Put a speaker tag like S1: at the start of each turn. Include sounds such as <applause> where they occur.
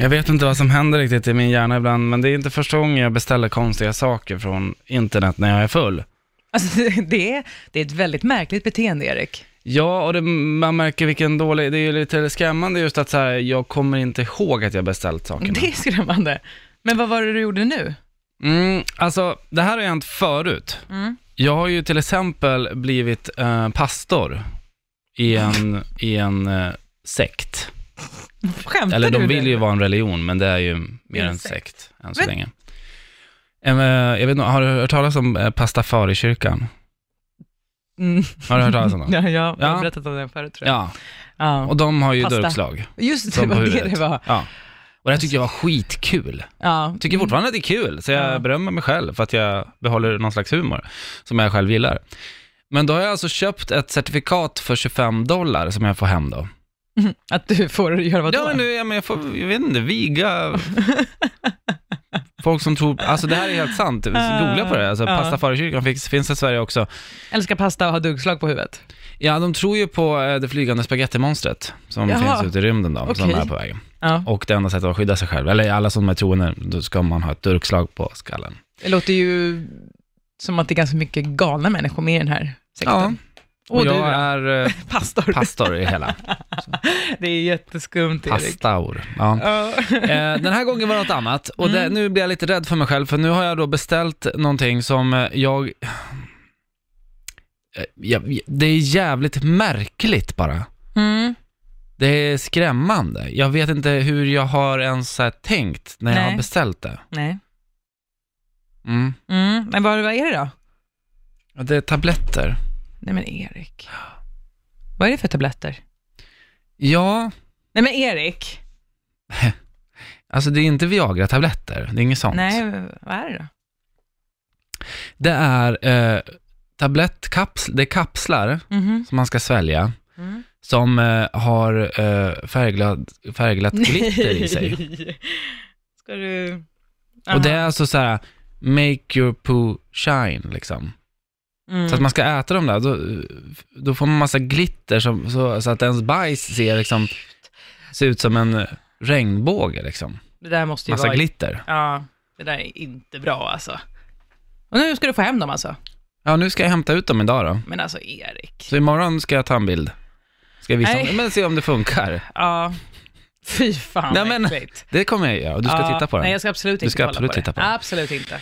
S1: Jag vet inte vad som händer riktigt i min hjärna ibland, men det är inte första gången jag beställer konstiga saker från internet när jag är full.
S2: Alltså, <laughs> det, är, det är ett väldigt märkligt beteende, Erik.
S1: Ja, och det, man märker vilken dålig, det är ju lite skrämmande just att så här, jag kommer inte ihåg att jag beställt sakerna.
S2: Det är skrämmande. Men vad var det du gjorde nu?
S1: Mm, alltså, det här har ju hänt förut.
S2: Mm.
S1: Jag har ju till exempel blivit eh, pastor i en, i en eh, sekt.
S2: Skämtar
S1: Eller de
S2: du
S1: vill
S2: nu?
S1: ju vara en religion, men det är ju mer
S2: en
S1: en
S2: sekt.
S1: sekt än så
S2: Men-
S1: länge. Eh, men, Jag vet inte, har du hört talas om eh, pastafarikyrkan?
S2: Mm.
S1: Har du hört talas om den?
S2: Ja, jag har
S1: Ja.
S2: berättat om den förut, tror jag.
S1: Ja,
S2: Ja.
S1: och de har ju
S2: Pasta.
S1: dörrkslag.
S2: Just det,
S1: Som
S2: det
S1: på
S2: var det
S1: huvudet.
S2: det var.
S1: Ja. Och det här tyckte jag var skitkul.
S2: Ja.
S1: Tycker fortfarande att det är kul, så jag
S2: Mm. Ja.
S1: berömmer mig själv för att jag behåller någon slags humor som jag själv gillar. Men då har jag alltså köpt ett certifikat för 25 dollar som jag får hem då.
S2: Mm. <laughs> Att du får göra vad
S1: Ja, men nu, ja, men jag, får, jag vet inte,
S2: <laughs>
S1: viga folk som tror, alltså det här är helt sant, googla på det, alltså
S2: Ja.
S1: pasta före kyrkan finns, finns i Sverige också.
S2: Älskar pasta och ha duggslag på huvudet.
S1: Ja, de tror ju på eh, det flygande spagettimonstret som
S2: Jaha.
S1: finns ute i rymden då, som
S2: Okej.
S1: är på väg.
S2: Ja.
S1: Och det enda sättet att skydda sig själv, eller alla som är troende, då ska man ha ett durkslag på skallen.
S2: Det låter ju som att det är ganska mycket galna människor med i den här sektorn.
S1: Och,
S2: Och du
S1: jag
S2: är...
S1: är eh,
S2: pastor.
S1: pastor i hela.
S2: <laughs> det är jätteskumt, Erik.
S1: Pastaur. Ja.
S2: Ja. <laughs>
S1: Eh, den här gången var det något annat och det,
S2: Mm.
S1: nu blir jag lite rädd för mig själv för nu har jag då beställt någonting som eh, jag... Eh, jag det är jävligt märkligt bara.
S2: Mm.
S1: Det är skrämmande. Jag vet inte hur jag har ens så här tänkt när jag
S2: Nej.
S1: har beställt det.
S2: Nej.
S1: Mm.
S2: Mm. Men vad, vad är det då?
S1: Ja, Det är tabletter.
S2: Nej men Erik. Vad är det för tabletter?
S1: Ja,
S2: Nej men Erik.
S1: alltså det är inte Viagra-tabletter. Det är inget sånt.
S2: Nej, vad är det då?
S1: Det är eh, tablettkapslar, det är kapslar
S2: Mhm.
S1: som man ska svälja.
S2: Mm.
S1: som eh, har eh, färgglad, färgglatt glitter i sig.
S2: <laughs> Ska du...
S1: Och det är alltså så här, make your poo shine liksom.
S2: mm.
S1: Så att man ska äta dem där, då, då får man massa glitter som, så, så att ens bajs ser, liksom, ser ut som en eh, regnbåge liksom.
S2: Det där måste ju
S1: Massa
S2: vara...
S1: glitter.
S2: Ja, det där är inte bra alltså. Och nu ska du få hem dem alltså.
S1: Ja, nu ska jag hämta ut dem idag då.
S2: Men alltså Erik.
S1: Så imorgon ska jag ta en bild. Ska jag visa
S2: Nej.
S1: dem, men se om det funkar.
S2: Ja. Fy fan
S1: Nej, men-
S2: äckligt.
S1: Det kommer jag göra och du ska
S2: Ja,
S1: titta på den.
S2: Nej, jag ska absolut inte
S1: ska
S2: kolla
S1: absolut
S2: på
S1: titta på
S2: det.
S1: den.
S2: Absolut inte.